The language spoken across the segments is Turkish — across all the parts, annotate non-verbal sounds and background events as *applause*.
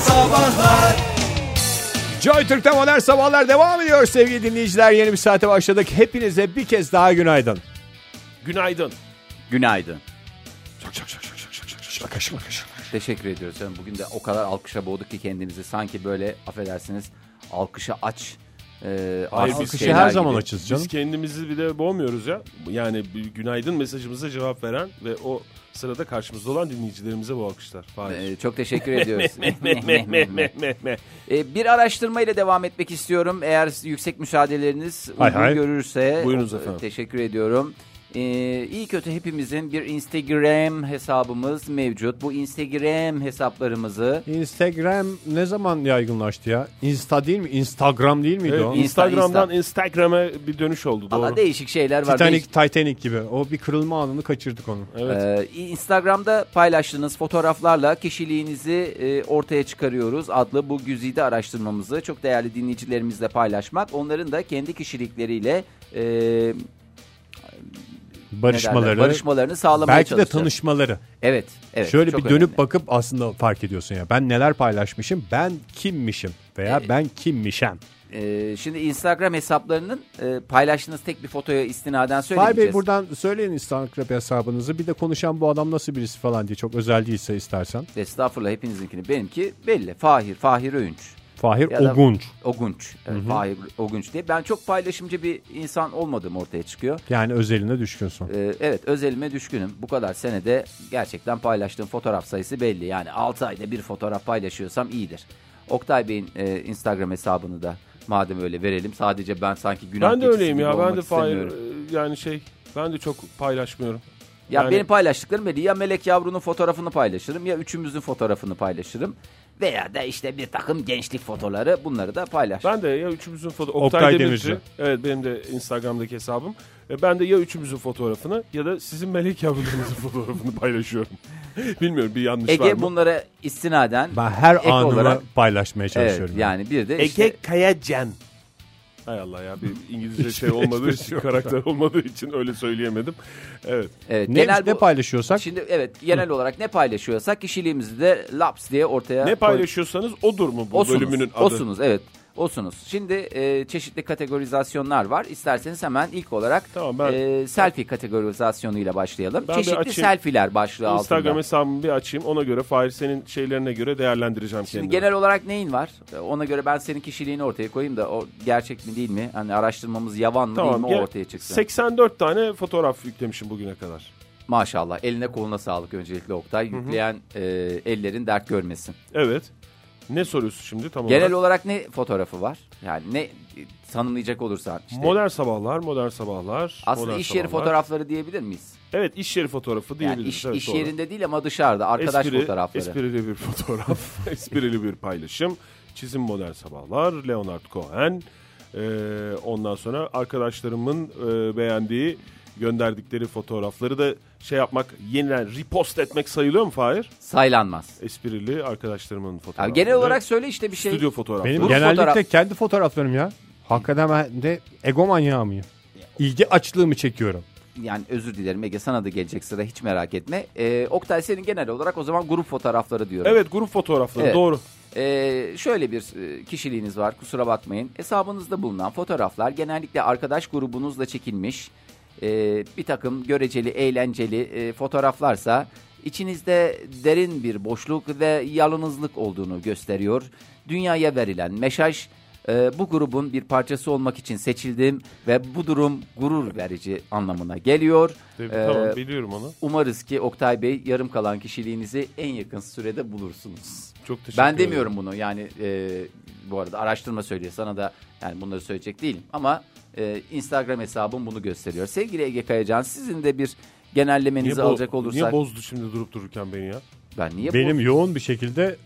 Sabahlar Joy Türk'te modern sabahlar devam ediyor sevgili dinleyiciler. Yeni bir saate başladık. Hepinize bir kez daha günaydın. Günaydın. Günaydın. Teşekkür ediyoruz efendim. Bugün de o kadar alkışa boğduk ki kendimizi sanki böyle affedersiniz alkışa aç. E, Hayır, arsız biz Kışı şeyler her zaman gibi. açız Biz canım. kendimizi bile boğmuyoruz ya. Yani bir günaydın mesajımıza cevap veren ve o sırada karşımızda olan dinleyicilerimize bu alkışlar. Fahir. E, çok teşekkür ediyoruz. Meh *laughs* meh meh meh meh meh. E, bir araştırma ile devam etmek istiyorum. Eğer yüksek müsaadeleriniz Hay uygun hay. görürse. Buyurunuz e, efendim. Teşekkür ediyorum. E, iyi kötü hepimizin bir Instagram hesabımız mevcut. Bu Instagram hesaplarımızı Instagram ne zaman yaygınlaştı ya? Insta değil mi? Instagram değil miydi Evet, o? Instagram'dan Insta. Instagram'a bir dönüş oldu doğru. Valla değişik şeyler var. Titanic, Titanic gibi. O bir kırılma anını kaçırdık onu. Evet. Ee, Instagram'da paylaştığınız fotoğraflarla kişiliğinizi e, ortaya çıkarıyoruz adlı bu güzide araştırmamızı çok değerli dinleyicilerimizle paylaşmak. Onların da kendi kişilikleriyle e, ne derler, Barışmaları. barışmalarını sağlamaya belki de çalışacağız. tanışmaları. Evet, evet. Şöyle çok bir dönüp önemli. bakıp aslında fark ediyorsun ya. Ben neler paylaşmışım? Ben kimmişim? Veya Ee, ben kimmişem? Ee, şimdi Instagram hesaplarının e, paylaştığınız tek bir fotoya istinaden Fahir söyleyeceğiz. Bey buradan söyleyin Instagram hesabınızı. Bir de konuşan bu adam nasıl birisi falan diye çok özel değilse istersen. Estağfurullah hepinizinkini. Benimki belli. Fahir, Fahir Öğünç. Fahir Ya da- Ogunç. Ogunç. Evet, Fahir Ogunç diye. Ben çok paylaşımcı bir insan olmadığım ortaya çıkıyor. Yani özeline düşkünsün. Ee, evet özelime düşkünüm. Bu kadar senede gerçekten paylaştığım fotoğraf sayısı belli. Yani 6 ayda bir fotoğraf paylaşıyorsam iyidir. Oktay Bey'in e, Instagram hesabını da madem öyle verelim. Sadece ben sanki günah ben de keçisi öyleyim gibi ya. Ben olmak de Fahir istemiyorum. e, yani şey ben de çok paylaşmıyorum. Ya yani- benim paylaştıklarım belli. Ya Melek Yavru'nun fotoğrafını paylaşırım ya üçümüzün fotoğrafını paylaşırım. Veya da işte bir takım gençlik fotoları bunları da paylaş. Ben de ya üçümüzün foto Oktay, Oktay Demirci. Demirci. Evet benim de Instagram'daki hesabım. E, Ben de ya üçümüzün fotoğrafını ya da sizin melek yavrularınızın *laughs* fotoğrafını paylaşıyorum. *laughs* Bilmiyorum bir yanlış var mı? Ege bunlara istinaden Ben her ek anımı olarak- paylaşmaya evet, çalışıyorum. yani bir de işte, Ege Kayacan. Hay Allah ya *laughs* bir İngilizce şey olmadığı için karakter olmadığı için öyle söyleyemedim. Evet. evet, Ne, genel ne bu- paylaşıyorsak Şimdi evet genel olarak ne paylaşıyorsak kişiliğimizi de laps diye ortaya Ne koy- paylaşıyorsanız odur mu bu Osunuz, bölümünün adı? Osunuz evet. Osunuz. Şimdi e, çeşitli kategorizasyonlar var. İsterseniz hemen ilk olarak Tamam, ben- e, selfie kategorizasyonuyla başlayalım. Ben bir çeşitli açayım. selfiler başlığı Instagram altında. hesabımı bir açayım. Ona göre Fahir senin şeylerine göre değerlendireceğim Şimdi kendimi. genel olarak neyin var? E, Ona göre ben senin kişiliğini ortaya koyayım da o gerçek mi değil mi? Hani araştırmamız yavan mı değil mi gel- o ortaya çıksın. 84 tane fotoğraf yüklemişim bugüne kadar. Maşallah eline koluna sağlık öncelikle Oktay. Yükleyen e, ellerin dert görmesin. Evet. Ne soruyorsun şimdi tam olarak? Genel olarak ne fotoğrafı var? Yani ne e, tanımlayacak olursan. Işte, Modern sabahlar, modern sabahlar. aslında modern iş yeri sabahlar. fotoğrafları diyebilir miyiz? Evet iş yeri fotoğrafı diyebiliriz. Yani iş, evet, iş doğru. yerinde değil ama dışarıda arkadaş Espri- fotoğrafları. Esprili bir *laughs* fotoğraf, esprili bir paylaşım. Çizim modern sabahlar, Leonard Cohen. Ee, ondan sonra arkadaşlarımın e, beğendiği, gönderdikleri fotoğrafları da şey yapmak, yeniden repost etmek sayılıyor mu Fahir? Saylanmaz. Esprili arkadaşlarımın fotoğrafları. Yani genel olarak söyle işte bir şey. stüdyo fotoğrafları. benim Bu genellikle fotoğraf- kendi fotoğraflarım ya. Hakikaten ben de ego manyağı mıyım? İlgi açlığımı çekiyorum. Yani özür dilerim Ege sana da gelecek sıra hiç merak etme. Ee, Oktay senin genel olarak o zaman grup fotoğrafları diyorum. Evet grup fotoğrafları Evet. doğru. Ee, şöyle bir e, kişiliğiniz var kusura bakmayın. Hesabınızda bulunan fotoğraflar genellikle arkadaş grubunuzla çekilmiş. e, bir takım göreceli, eğlenceli e, fotoğraflarsa içinizde derin bir boşluk ve yalnızlık olduğunu gösteriyor. Dünyaya verilen mesaj e, bu grubun bir parçası olmak için seçildim ve bu durum gurur verici anlamına geliyor. Tabii, Ee, tamam biliyorum onu. Umarız ki Oktay Bey yarım kalan kişiliğinizi en yakın sürede bulursunuz. Çok teşekkür Ben ederim. demiyorum bunu yani e, bu arada araştırma söylüyor sana da yani bunları söyleyecek değilim ama e, Instagram hesabım bunu gösteriyor. Sevgili Ege Kayacan sizin de bir Niye, genellemenizi bo- alacak olursak niye bozdu şimdi durup dururken beni ya? ben niye Benim yoğun bir şekilde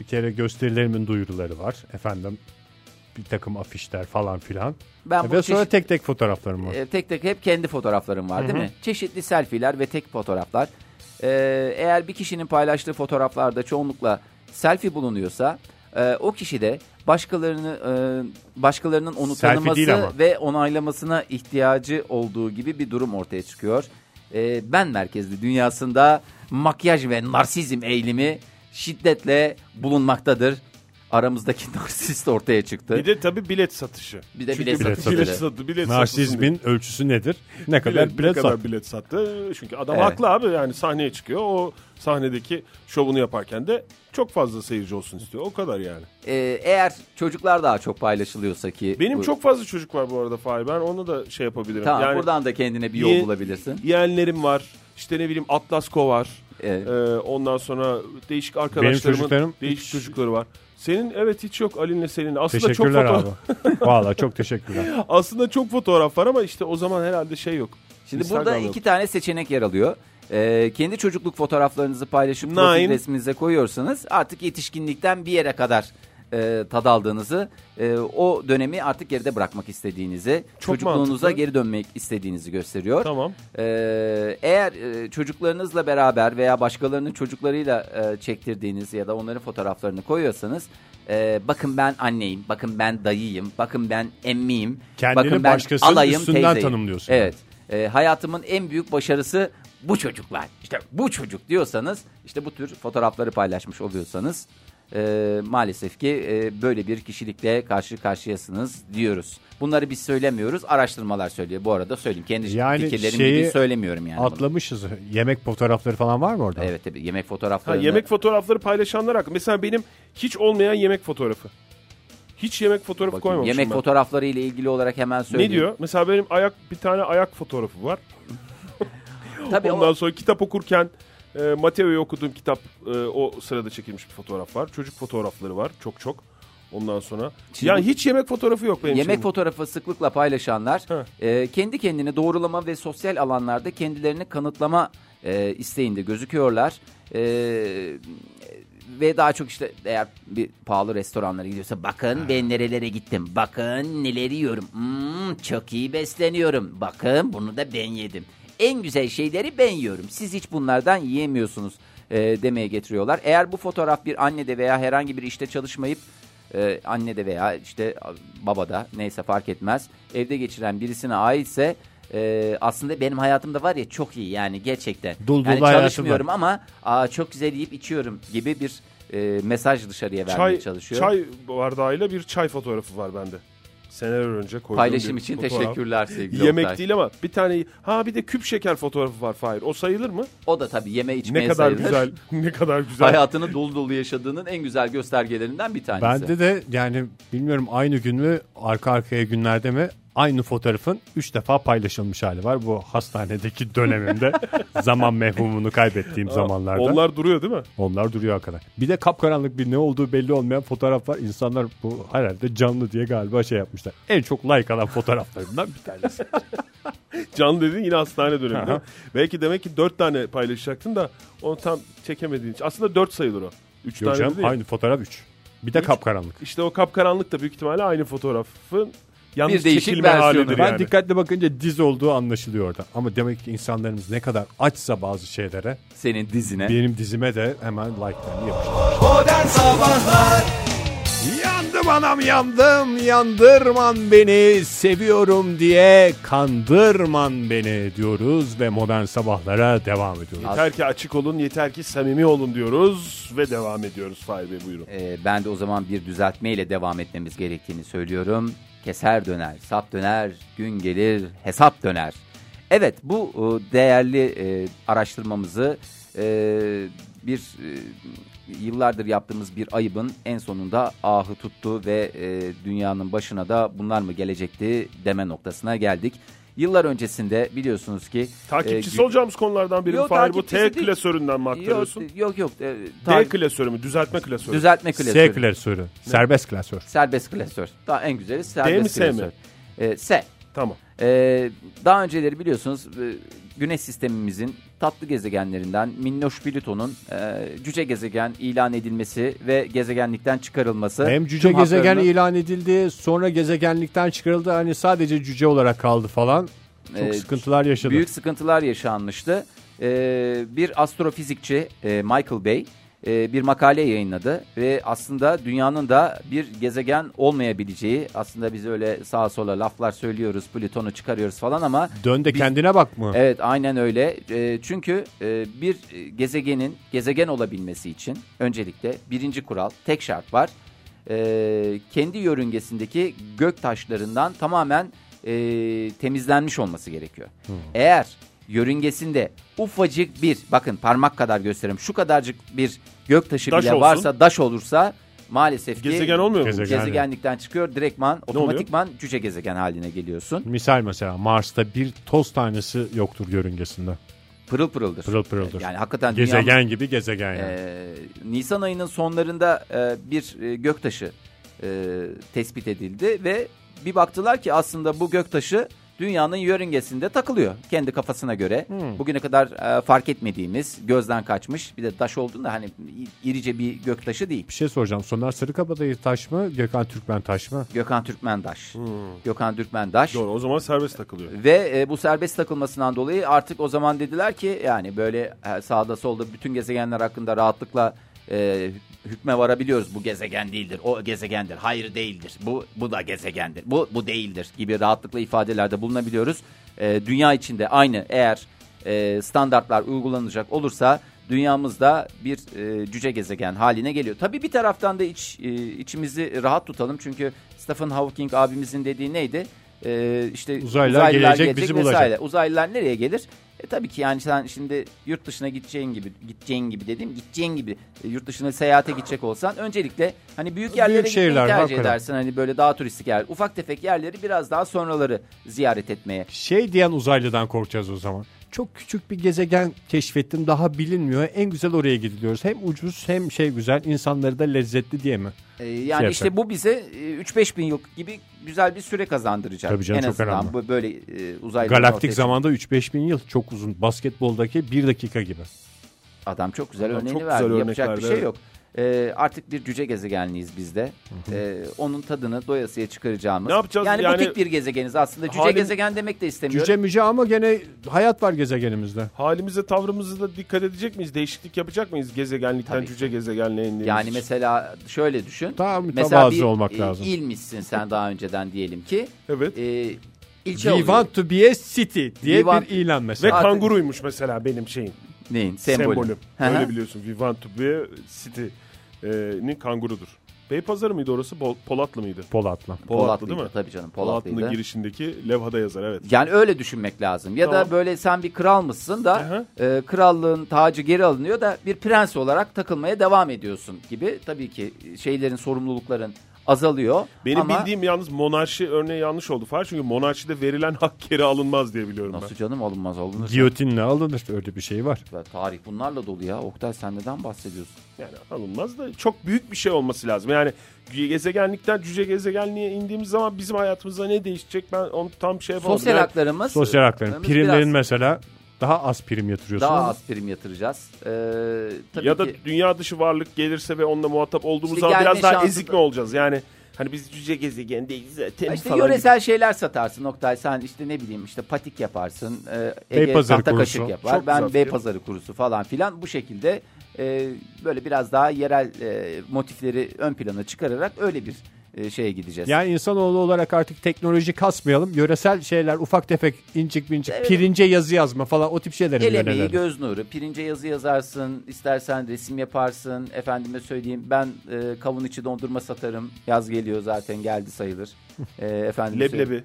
bir kere gösterilerimin duyuruları var. Efendim bir takım afişler falan filan. bu- ben bu Ve sonra çeşit- tek tek fotoğraflarım var. e, tek tek hep kendi fotoğraflarım var değil mi? Çeşitli selfiler ve tek fotoğraflar. E, eğer bir kişinin paylaştığı fotoğraflarda çoğunlukla selfie bulunuyorsa e, o kişi de başkalarını e, başkalarının onu Selfie değil tanıması ama. ve onaylamasına ihtiyacı olduğu gibi bir durum ortaya Ee, çıkıyor. E, ben merkezli dünyasında makyaj ve narsizm eğilimi şiddetle bulunmaktadır. Aramızdaki *laughs* narsist ortaya çıktı. Bir de tabii bilet satışı. Bir de Çünkü bilet satışı. Bilet sattı. Bilet satışının- Narsizmin ölçüsü nedir? Ne kadar bilet, bilet, ne kadar sattı? bilet sattı. Çünkü adam Evet. haklı abi yani sahneye çıkıyor. O sahnedeki şovunu yaparken de çok fazla seyirci olsun istiyor. O kadar yani. Ee, eğer çocuklar daha çok paylaşılıyorsa ki. Benim bu- çok fazla çocuk var bu arada Fahir. Ben onu da şey yapabilirim. Tamam yani buradan da kendine bir Ye- yol bulabilirsin. E, Yeğenlerim var. İşte ne bileyim Atlasko var. Evet. Ee, ondan sonra değişik arkadaşlarımın çocuklarım değişik hiç- çocukları var. Senin evet hiç yok Ali'ninle senin. Aslında çok Teşekkürler fotoğraf, abi. Valla çok *laughs* teşekkürler. *laughs* aslında çok fotoğraf var ama işte o zaman herhalde şey yok. Şimdi Instagram burada yok. iki tane seçenek yer alıyor. Ee, kendi çocukluk fotoğraflarınızı paylaşıp Nine. profil resminize koyuyorsanız artık yetişkinlikten bir yere kadar e, tad aldığınızı, e, o dönemi artık geride bırakmak istediğinizi, Çok çocukluğunuza mantıklı. geri dönmek istediğinizi gösteriyor. Tamam. Ee, eğer e, çocuklarınızla beraber veya başkalarının çocuklarıyla e, çektirdiğiniz ya da onların fotoğraflarını koyuyorsanız e, bakın ben anneyim, bakın ben dayıyım, bakın ben emmiyim, Kendini bakın ben başkasının alayım üstünden teyzeyim. tanımlıyorsun. Evet. E, hayatımın en büyük başarısı bu çocuklar. İşte bu çocuk diyorsanız işte bu tür fotoğrafları paylaşmış oluyorsanız e, maalesef ki e, böyle bir kişilikle karşı karşıyasınız diyoruz. Bunları biz söylemiyoruz. Araştırmalar söylüyor. Bu arada söyleyeyim. Kendi Yani fikirlerim şeyi gibi söylemiyorum yani. bunu. Atlamışız. Yemek fotoğrafları falan var mı orada? Evet tabii yemek Ha, fotoğrafları. yemek fotoğrafları paylaşanlar hakkında. Mesela benim hiç olmayan yemek fotoğrafı. Hiç yemek fotoğrafı koymamışım Yemek ben. fotoğrafları ile ilgili olarak hemen söyleyeyim. Ne diyor? Mesela benim ayak bir tane ayak fotoğrafı var. Tabii Ondan o, sonra kitap okurken e, Mateo'yu okuduğum kitap e, o sırada çekilmiş bir fotoğraf var. Çocuk fotoğrafları var çok çok. Ondan sonra Şimdi yani bu- hiç yemek fotoğrafı yok benim. yemek şeyim. fotoğrafı sıklıkla paylaşanlar Ha. e, kendi kendini doğrulama ve sosyal alanlarda kendilerini kanıtlama e, isteğinde gözüküyorlar. E, ve daha çok işte eğer bir pahalı restoranlara gidiyorsa bakın ben nerelere gittim. Bakın neler yiyorum. Hmm, çok iyi besleniyorum. Bakın bunu da ben yedim. En güzel şeyleri ben yiyorum. Siz hiç bunlardan yiyemiyorsunuz e, demeye getiriyorlar. Eğer bu fotoğraf bir annede veya herhangi bir işte çalışmayıp e, annede veya işte babada neyse fark etmez evde geçiren birisine aitse e, aslında benim hayatımda var ya çok iyi yani gerçekten. Dul dul yani hayatım çalışmıyorum ama aa, çok güzel yiyip içiyorum gibi bir e, mesaj dışarıya vermeye çay, çalışıyor. Çay bardağıyla bir çay fotoğrafı var bende. Seneler önce koyduğum Paylaşım bir için fotoğraf. teşekkürler sevgili Yemek Oktay. değil ama bir tane ha bir de küp şeker fotoğrafı var Fahir. O sayılır mı? O da tabii yeme içmeye ne kadar sayılır. *laughs* güzel. Ne kadar güzel. Hayatını dolu dolu yaşadığının en güzel göstergelerinden bir tanesi. Bende de yani bilmiyorum aynı gün mü arka arkaya günlerde mi aynı fotoğrafın 3 defa paylaşılmış hali var. Bu hastanedeki *laughs* dönemimde zaman mevhumunu kaybettiğim zamanlarda. Onlar... Onlar duruyor değil mi? duruyor kadar. Bir de kapkaranlık bir ne olduğu belli olmayan fotoğraf var. İnsanlar bu herhalde canlı diye galiba şey yapmışlar. En çok like alan fotoğraflarımdan bir tanesi. Canlı dediğin yine hastane dönemi değil mi? Belki demek ki dört tane paylaşacaktın da onu tam çekemediğin için. Aslında dört sayılır o. Üç Yok tane canım, değil. aynı fotoğraf 3. Bir de Üç. kapkaranlık. İşte o kapkaranlık da büyük ihtimalle aynı fotoğrafın yanlış Bir değişik çekilme versiyonu. halidir Ben yani. dikkatli bakınca diz olduğu anlaşılıyor orada. Ama demek ki insanlarımız ne kadar açsa bazı şeylere Senin dizine. Benim dizime de hemen like'larını yapıştırdım. Yandım anam yandım yandırman beni seviyorum diye Kandırman beni diyoruz ve modern sabahlara devam ediyoruz. Yeter ki açık olun, yeter ki samimi olun diyoruz ve devam ediyoruz Fahir Bey buyurun. Ee, ben de o zaman bir düzeltmeyle devam etmemiz gerektiğini söylüyorum. Keser döner, sap döner, gün gelir, hesap döner. Evet bu e, değerli e, araştırmamızı e, bir e, yıllardır yaptığımız bir ayıbın en sonunda ahı tuttu ve e, dünyanın başına da bunlar mı gelecekti deme noktasına geldik. Yıllar öncesinde biliyorsunuz ki... Takipçisi e, gü- olacağımız konulardan biri Yo, Fahir bu T takipçisi değil. klasöründen mi Yok aktarıyorsun? yok, yok e, D ta- klasörü mü? Düzeltme klasörü. düzeltme S klasörü. klasörü. Serbest klasör. Serbest klasör. Daha en güzeli serbest D mi, S mi? klasör. Ee, S. tamam. Ee, daha önceleri biliyorsunuz e, güneş sistemimizin tatlı gezegenlerinden Minnoş Plüton'un e, cüce gezegen ilan edilmesi ve gezegenlikten çıkarılması. Hem cüce tüm gezegen haklarını- ilan edildi sonra gezegenlikten çıkarıldı hani sadece cüce olarak kaldı falan. Çok Ee, sıkıntılar yaşadı. Büyük sıkıntılar yaşanmıştı. Ee, bir astrofizikçi e, Michael Bay e, bir makale yayınladı ve aslında dünyanın da bir gezegen olmayabileceği aslında biz öyle sağa sola laflar söylüyoruz Plüton'u çıkarıyoruz falan ama Dön de Biz- kendine bak mı? *laughs* Evet aynen öyle. Ee, çünkü e, bir gezegenin gezegen olabilmesi için öncelikle birinci kural tek şart var. Ee, kendi yörüngesindeki gök taşlarından tamamen e, temizlenmiş olması gerekiyor. Hmm. Eğer yörüngesinde ufacık bir bakın parmak kadar göstereyim şu kadarcık bir gök taşı Daş bile olsun. varsa daş olursa maalesef ki Gezegen olmuyor mu? Gezegen. gezegenlikten çıkıyor direktman oluyor? otomatikman cüce gezegen haline geliyorsun. Misal mesela Mars'ta bir toz tanesi yoktur yörüngesinde. Pırıl pırıldır. Pırıl pırıldır. Yani hakikaten dünyanın- gezegen gibi gezegen yani. Ee, Nisan ayının sonlarında e, bir e, göktaşı e, tespit edildi ve bir baktılar ki aslında bu göktaşı dünyanın yörüngesinde takılıyor kendi kafasına göre. Bugüne kadar e, fark etmediğimiz, gözden kaçmış bir de taş olduğunda hani irice bir göktaşı değil. Bir şey soracağım. Soner Sarıkabadayı taş mı? Gökhan Türkmen taş mı? Gökhan Türkmendaş. Gökhan Türkmendaş. Doğru o zaman serbest takılıyor. Ve e, bu serbest takılmasından dolayı artık o zaman dediler ki yani böyle e, sağda solda bütün gezegenler hakkında rahatlıkla e, hükme varabiliyoruz. Bu gezegen değildir, o gezegendir, hayır değildir, bu bu da gezegendir, bu bu değildir gibi rahatlıkla ifadelerde bulunabiliyoruz. E, dünya içinde aynı eğer e, standartlar uygulanacak olursa dünyamızda bir e, cüce gezegen haline geliyor. Tabii bir taraftan da iç e, içimizi rahat tutalım çünkü Stephen Hawking abimizin dediği neydi? E, işte Uzaylılar gelecek, bizi bulacak. vesaire. Uzaylılar nereye gelir? E tabii ki yani sen şimdi yurt dışına gideceğin gibi gideceğin gibi dedim gideceğin gibi e, yurt dışına seyahate gidecek olsan öncelikle hani büyük yerlere Büyük gitmeyi şehirler, tercih hakikaten. edersin hani böyle daha turistik yer ufak tefek yerleri biraz daha sonraları ziyaret etmeye Şey diyen uzaylıdan korkacağız o zaman. Çok küçük bir gezegen keşfettim daha bilinmiyor. En güzel oraya gidiliyoruz. Hem ucuz hem şey güzel insanları da lezzetli diye mi? Ee, yani Şey işte bu bize e, 3-5 bin yıl gibi güzel bir süre kazandıracak. Tabii canım, en çok azından önemli. bu böyle e, uzaylı Galaktik ortaya- zamanda 3-5 bin yıl çok uzun. Basketboldaki 1 dakika gibi. Adam çok güzel Adam örneğini çok verdi. güzel Yapacak bir örnekler şey verdi. yok. Ee, artık bir cüce gezegenliyiz biz de. Ee, onun tadını doyasıya çıkaracağımız. Ne yapacağız? Yani, Yani- bu tek bir gezegeniz aslında. Cüce Halim- gezegen demek de istemiyorum. Cüce müce ama gene hayat var gezegenimizde. Halimize tavrımıza da dikkat edecek miyiz? Değişiklik yapacak mıyız? Gezegenlikten Tabii. cüce gezegenliğe indiğimiz Yani için? mesela şöyle düşün. Daha mesela mütevazı bir olmak e, lazım. ilmişsin sen daha önceden diyelim ki. Evet. E, ilçe We şey oluyor. want to be a city diye We want- bir ilan Ve mesela. Zaten- kanguruymuş mesela benim şeyim. Neyin? Sembolü. Sembolüm. Hı hı. Öyle biliyorsun. We want to be city'nin kangurudur. Beypazarı mıydı orası? Bol- Polatlı mıydı? Polat'la. Polatlı değil mi? Tabii canım Polatlı'ydı. Polatlı'nın girişindeki levhada yazar evet. Yani öyle düşünmek lazım. Ya Tamam. da böyle sen bir kral mısın da Aha. e, krallığın tacı geri alınıyor da bir prens olarak takılmaya devam ediyorsun gibi. Tabii ki şeylerin sorumlulukların azalıyor. Benim ama bildiğim yalnız monarşi örneği yanlış oldu Far. Çünkü monarşide verilen hak geri alınmaz diye biliyorum Nasıl canım alınmaz alınır. Giyotinle alınır öyle bir şey var. Ya tarih bunlarla dolu ya. Oktay sen neden bahsediyorsun? ben. Yani alınmaz da çok büyük bir şey olması lazım. Yani gezegenlikten cüce gezegenliğe indiğimiz zaman bizim hayatımıza ne değişecek ben onu tam şey yapamadım. Sosyal Yani haklarımız. Sosyal hakların Biraz primlerin mesela daha az prim yatırıyorsun. Daha ama az prim yatıracağız. Ee, tabii ya da ki dünya dışı varlık gelirse ve onunla muhatap olduğumuz İşte zaman gelme biraz daha şansı ezik da- mi olacağız? Yani hani biz cüce gezegendeyiz zaten işte falan yöresel şeyler satarsın Oktay. Sen işte ne bileyim işte patik yaparsın. e, Ege Beypazarı tahta kurusu. kaşık yapar. Çok güzel ben fikir. Bey pazarı kurusu falan filan bu şekilde e, böyle biraz daha yerel e, motifleri ön plana çıkararak öyle bir e, şeye gideceğiz. Yani insanoğlu olarak artık teknoloji kasmayalım. Yöresel şeyler ufak tefek incik bincik pirince yazı yazma falan o tip şeylere El emeği, yönelelim. göz nuru, pirince yazı yazarsın, istersen resim yaparsın, efendime söyleyeyim ben e, kavun içi dondurma satarım, yaz geliyor zaten geldi sayılır. E, efendim Leblebi.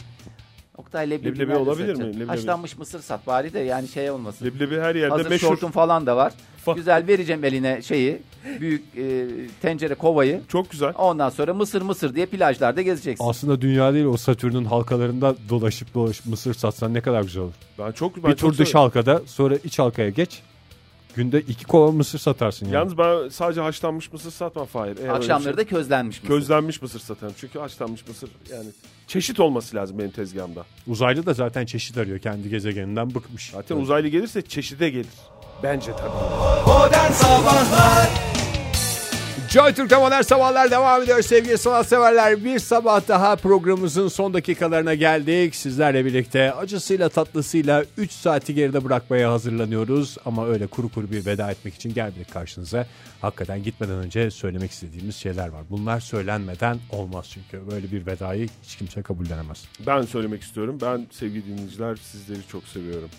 Oktay leblebi, Leblebi nerede olabilir mi? satacaksın? Leblebi. Haşlanmış mısır sat bari de yani şey olmasın. Leblebi her yerde Hazır meşhur. şortun falan da var. Fa- Güzel vereceğim eline şeyi, büyük e, tencere kovayı. Çok güzel. Ondan sonra mısır mısır diye plajlarda gezeceksin. Aslında dünya değil o Satürn'ün halkalarında dolaşıp dolaşıp mısır satsan ne kadar güzel olur. Ben çok ben bir çok tur dış seviyorum. halkada sonra iç halkaya geç. Günde iki kova mısır satarsın yani. Yalnız ben sadece haşlanmış mısır satmam Fahir. Eğer öyle Akşamları bir şey- da közlenmiş mısır. Közlenmiş mısır satarım. Çünkü haşlanmış mısır yani çeşit olması lazım benim tezgahımda. Uzaylı da zaten çeşit arıyor kendi gezegeninden bıkmış. Zaten uzaylı gelirse çeşide gelir. Bence tabii. Joy Türk'te modern sabahlar devam ediyor sevgili sanatseverler. Bir sabah daha programımızın son dakikalarına geldik. Sizlerle birlikte acısıyla tatlısıyla 3 saati geride bırakmaya hazırlanıyoruz. Ama öyle kuru kuru bir veda etmek için gelmedik karşınıza. Hakikaten gitmeden önce söylemek istediğimiz şeyler var. Bunlar söylenmeden olmaz çünkü. Böyle bir vedayı hiç kimse kabullenemez. Ben söylemek istiyorum. Ben sevgili dinleyiciler sizleri çok seviyorum.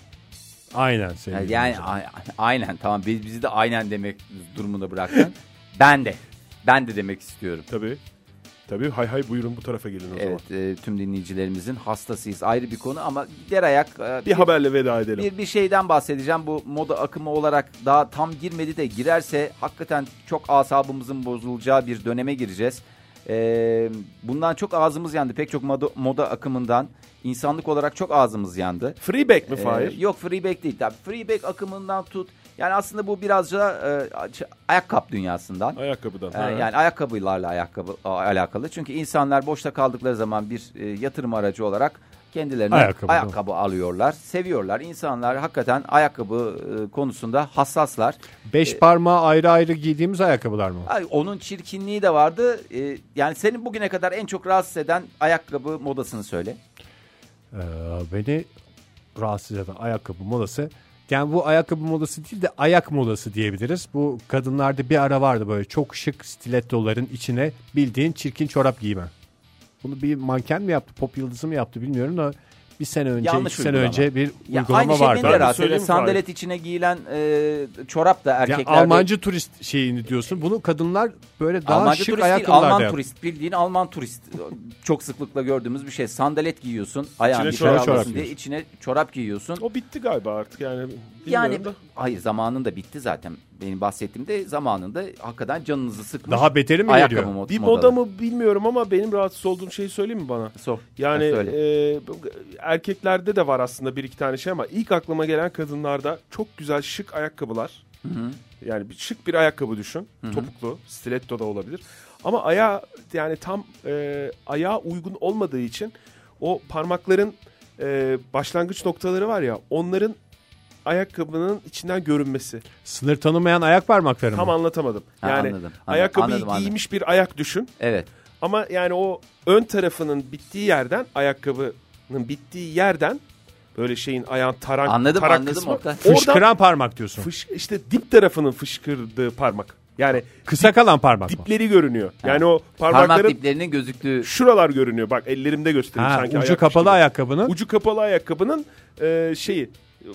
Aynen sevgili Yani, dinleyiciler. a- aynen tamam biz bizi de aynen demek durumunda bıraktın. ben de. Ben de demek istiyorum. Tabii. Tabii hay hay buyurun bu tarafa gelin o zaman. Evet e, tüm dinleyicilerimizin hastasıyız ayrı bir konu ama gider ayak e, Bir haberle veda edelim. bir, bir şeyden bahsedeceğim. Bu moda akımı olarak daha tam girmedi de girerse hakikaten çok asabımızın bozulacağı bir döneme gireceğiz. Ee, bundan çok ağzımız yandı. Pek çok moda, moda akımından insanlık olarak çok ağzımız yandı. Freeback mi Ee, Fahir? yok freeback değil. Tabii freeback akımından tut. Yani aslında bu biraz da e, ayakkabı dünyasından. Ayakkabıdan. Ha, Evet. Ee, Yani ayakkabılarla ayakkabı a- alakalı. Çünkü insanlar boşta kaldıkları zaman bir e, yatırım aracı olarak kendilerine Ayakkabı, ayakkabı, alıyorlar. Seviyorlar. İnsanlar hakikaten ayakkabı e, konusunda hassaslar. Beş parmağı ayrı ayrı giydiğimiz ayakkabılar mı? Ay, onun çirkinliği de vardı. E, yani senin bugüne kadar en çok rahatsız eden ayakkabı modasını söyle. Ee, beni rahatsız eden ayakkabı modası. Yani bu ayakkabı modası değil de ayak modası diyebiliriz. Bu kadınlarda bir ara vardı böyle çok şık stilettoların içine bildiğin çirkin çorap giyme. Bunu bir manken mi yaptı, pop yıldızı mı yaptı bilmiyorum da bir sene önce, Yanlış iki sene uygulama. önce bir Ya, uygulama aynı şey vardı. beni de Ya rahatsız ediyor. söyleyeyim mi Fahir? Sandalet içine giyilen e, çorap da erkeklerde. Almancı turist şeyini diyorsun. Bunu kadınlar böyle daha Almanca şık turist değil, ayakkabılarda Alman yapıyor. turist. Bildiğin Alman turist. Çok sıklıkla gördüğümüz bir şey. Sandalet giyiyorsun. Ayağın İçine bir çorap- çorap çorap diye giyiyorsun. içine çorap giyiyorsun. O bitti galiba artık yani. Bilmiyorum yani da. hayır zamanında bitti zaten. Benim bahsettiğimde zamanında hakikaten canınızı sıkmış. Daha beteri mi ayakkabı geliyor? mod- Bir modalı. moda mı bilmiyorum ama benim rahatsız olduğum şeyi söyleyeyim mi bana? Sor. Yani Ha, söyle. e, bu- erkeklerde de var aslında bir iki tane şey ama ilk aklıma gelen kadınlarda çok güzel şık ayakkabılar. Yani bir şık bir ayakkabı düşün. Topuklu, stiletto da olabilir. Ama ayağı yani tam e, ayağa uygun olmadığı için o parmakların e, başlangıç noktaları var ya onların ayakkabının içinden görünmesi. Sınır tanımayan ayak parmakları mı? Tam anlatamadım. Ha, Yani anladım, anladım, ayakkabıyı anladım, anladım. giymiş bir ayak düşün. Evet. Ama yani o ön tarafının bittiği yerden ayakkabının bittiği yerden böyle şeyin ayağın taran, Anladım, tarak anladım kısmı. Oktay. Oradan Fışkıran parmak diyorsun. fış, işte dip tarafının fışkırdığı parmak. Yani Kısa kalan parmak mı? dipleri görünüyor. Yani o Parmak parmakların diplerinin gözüktüğü şuralar görünüyor. Bak ellerimde göstereyim Ha, sanki. ucu ayakmış kapalı gibi. ayakkabının. Ucu kapalı ayakkabının e, şeyi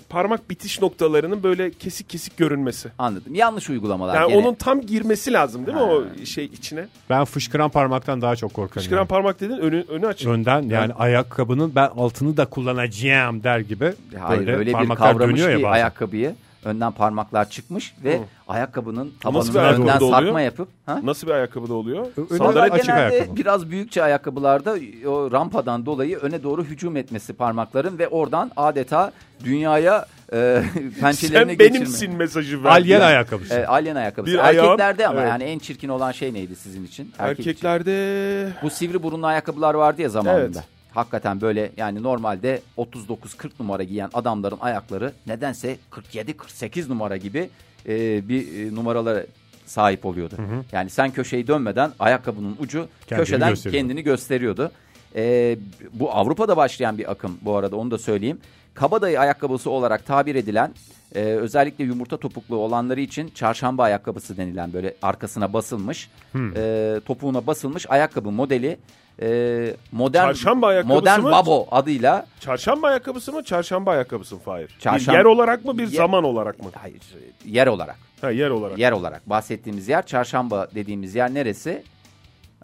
parmak bitiş noktalarının böyle kesik kesik görünmesi. anladım. Yanlış uygulamalar. Yani gene. onun tam girmesi lazım değil mi o şey içine? Ben fışkıran parmaktan daha çok korkarım. Fışkıran yani. parmak dedin önü, önü açık. Önden yani ayakkabının ben altını da kullanacağım der gibi. Hayır böyle öyle, bir şey, parmaklar kavramış dönüyor ya ki bazen. ayakkabıyı. Önden parmaklar çıkmış ve ayakkabının Nasıl bir tabanını ayakkabı önden da oluyor? sarkma yapıp. Ha? Nasıl bir ayakkabıda oluyor? Öne Onlar Sandalet açık genelde ayakkabı. biraz büyükçe ayakkabılarda e, o rampadan dolayı öne doğru hücum etmesi parmakların ve oradan adeta dünyaya e, *laughs* pençelerini Sen geçirme. benimsin mesajı ver. Alyen Yani ayakkabısı. E, alien ayakkabısı. Bir ayağın- Erkeklerde ama Evet. yani en çirkin olan şey neydi sizin için? Erkek için. Erkeklerde Bu sivri burunlu ayakkabılar vardı ya zamanında. Evet. Hakikaten böyle yani normalde 39-40 numara giyen adamların ayakları nedense 47-48 numara gibi e, bir e, numaralara sahip oluyordu. Yani sen köşeyi dönmeden ayakkabının ucu Kendini köşeden gösteriyordu. kendini gösteriyordu. E, bu Avrupa'da başlayan bir akım bu arada onu da söyleyeyim. Kabadayı ayakkabısı olarak tabir edilen e, özellikle yumurta topuklu olanları için çarşamba ayakkabısı denilen böyle arkasına basılmış Hmm. e, topuğuna basılmış ayakkabı modeli e, modern Çarşamba ayakkabısı modern mı? babo adıyla çarşamba ayakkabısı mı çarşamba ayakkabısı mı Fahir? Çarşam- Bir yer olarak mı bir Ye- zaman olarak mı? hayır yer olarak Ha, yer olarak. yer olarak bahsettiğimiz yer çarşamba dediğimiz yer neresi?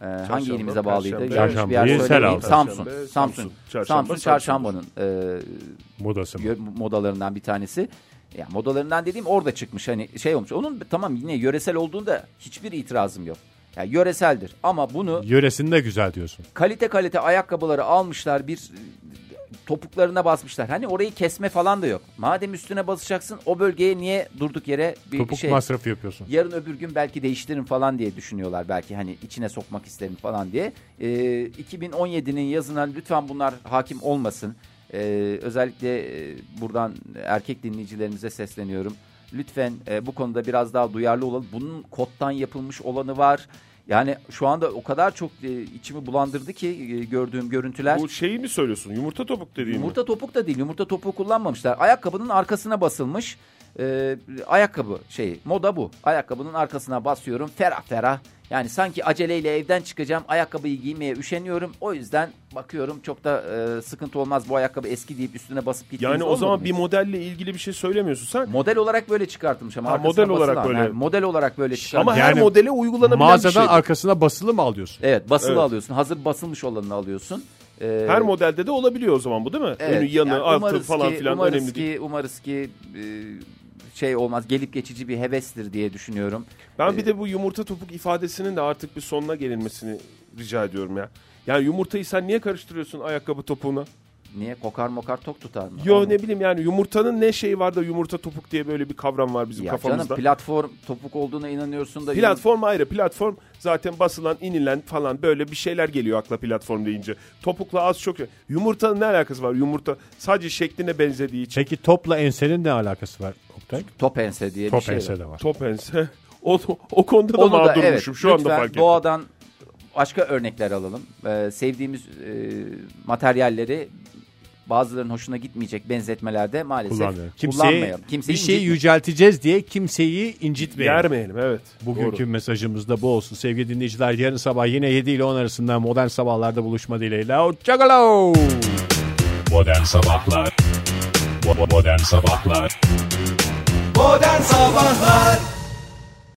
Ee, hangi Çarşamba, ilimize bağlıydı? Perşembe, Yanlış bir yer Çarşambayı söylemeyeyim. Sel aldı. Samsun. Perşembe, Samsun. Samsun. Çarşamba, Samsun çarşambanın Modası e, mı? yö- modalarından bir tanesi. Ya modalarından dediğim orada çıkmış hani şey olmuş. Onun tamam yine yöresel olduğunda hiçbir itirazım yok. Ya yöreseldir ama bunu Yöresinde güzel diyorsun. kalite kalite ayakkabıları almışlar bir e, topuklarına basmışlar. Hani orayı kesme falan da yok. Madem üstüne basacaksın o bölgeye niye durduk yere bir Topuk şey masrafı yapıyorsun. yarın öbür gün belki değiştiririm falan diye düşünüyorlar belki hani içine sokmak isterim falan diye. Ee, 2017'nin yazına lütfen bunlar hakim olmasın. Ee, özellikle e, buradan erkek dinleyicilerimize sesleniyorum. Lütfen e, bu konuda biraz daha duyarlı olalım. Bunun kottan yapılmış olanı var. Yani şu anda o kadar çok e, içimi bulandırdı ki e, gördüğüm görüntüler. Bu şeyi mi söylüyorsun? Yumurta topuk dediğin mi? Yumurta topuk da değil. Yumurta topuğu kullanmamışlar. Ayakkabının arkasına basılmış. Ee, ayakkabı şeyi. Moda bu. Ayakkabının arkasına basıyorum. Ferah ferah. Yani sanki aceleyle evden çıkacağım. Ayakkabıyı giymeye üşeniyorum. O yüzden bakıyorum çok da e, sıkıntı olmaz bu ayakkabı eski deyip üstüne basıp gittiğiniz Yani o olmadı zaman mı bir hiç? modelle ilgili bir şey söylemiyorsun sen. model olarak böyle çıkartılmış ama Ha, arkasına model olarak basılan, böyle. ha, model olarak böyle çıkartılmış. Ama her Yani modele uygulanabilen bir şey. Mağazadan arkasına basılı mı alıyorsun? Evet basılı Evet. alıyorsun. Hazır basılmış olanını alıyorsun. Ee, Her modelde de olabiliyor o zaman bu değil mi? Evet, Önü, yanı, yani altı umarız falan ki- filan umarız önemli ki, değil. Umarız ki e, şey olmaz gelip geçici bir hevestir diye düşünüyorum. Ben bir de bu yumurta topuk ifadesinin de artık bir sonuna gelinmesini rica ediyorum ya. Yani yumurtayı sen niye karıştırıyorsun ayakkabı topuğuna? Niye kokar mokar tok tutar mı? Yo Ama- ne bileyim yani yumurtanın ne şeyi var da yumurta topuk diye böyle bir kavram var bizim ya kafamızda. canım platform topuk olduğuna inanıyorsun da Platform ayrı. Platform zaten basılan, inilen falan böyle bir şeyler geliyor akla platform deyince. Topukla az çok. Yumurtanın ne alakası var? Yumurta sadece şekline benzediği için. Peki topla ensenin ne alakası var Oktay? top ense diye Top bir şey. var. ense de var. Top ense. *laughs* O, o konuda da Onu da mağdurmuşum. evet, Şu anda lütfen fark ettim. doğadan başka örnekler alalım. Ee, sevdiğimiz e, materyalleri bazılarının hoşuna gitmeyecek benzetmelerde maalesef Kullanmayalım. kullanmayalım. şey Kimseyi, Kimseyi bir şey şeyi incitmeyelim. yücelteceğiz diye kimseyi incitmeyelim. Yermeyelim evet. Bugünkü Doğru. mesajımız da bu olsun. Sevgili dinleyiciler yarın sabah yine 7 ile 10 arasında modern sabahlarda buluşma dileğiyle. Hoşçakalın. Modern Sabahlar Bo- Modern Sabahlar Modern Sabahlar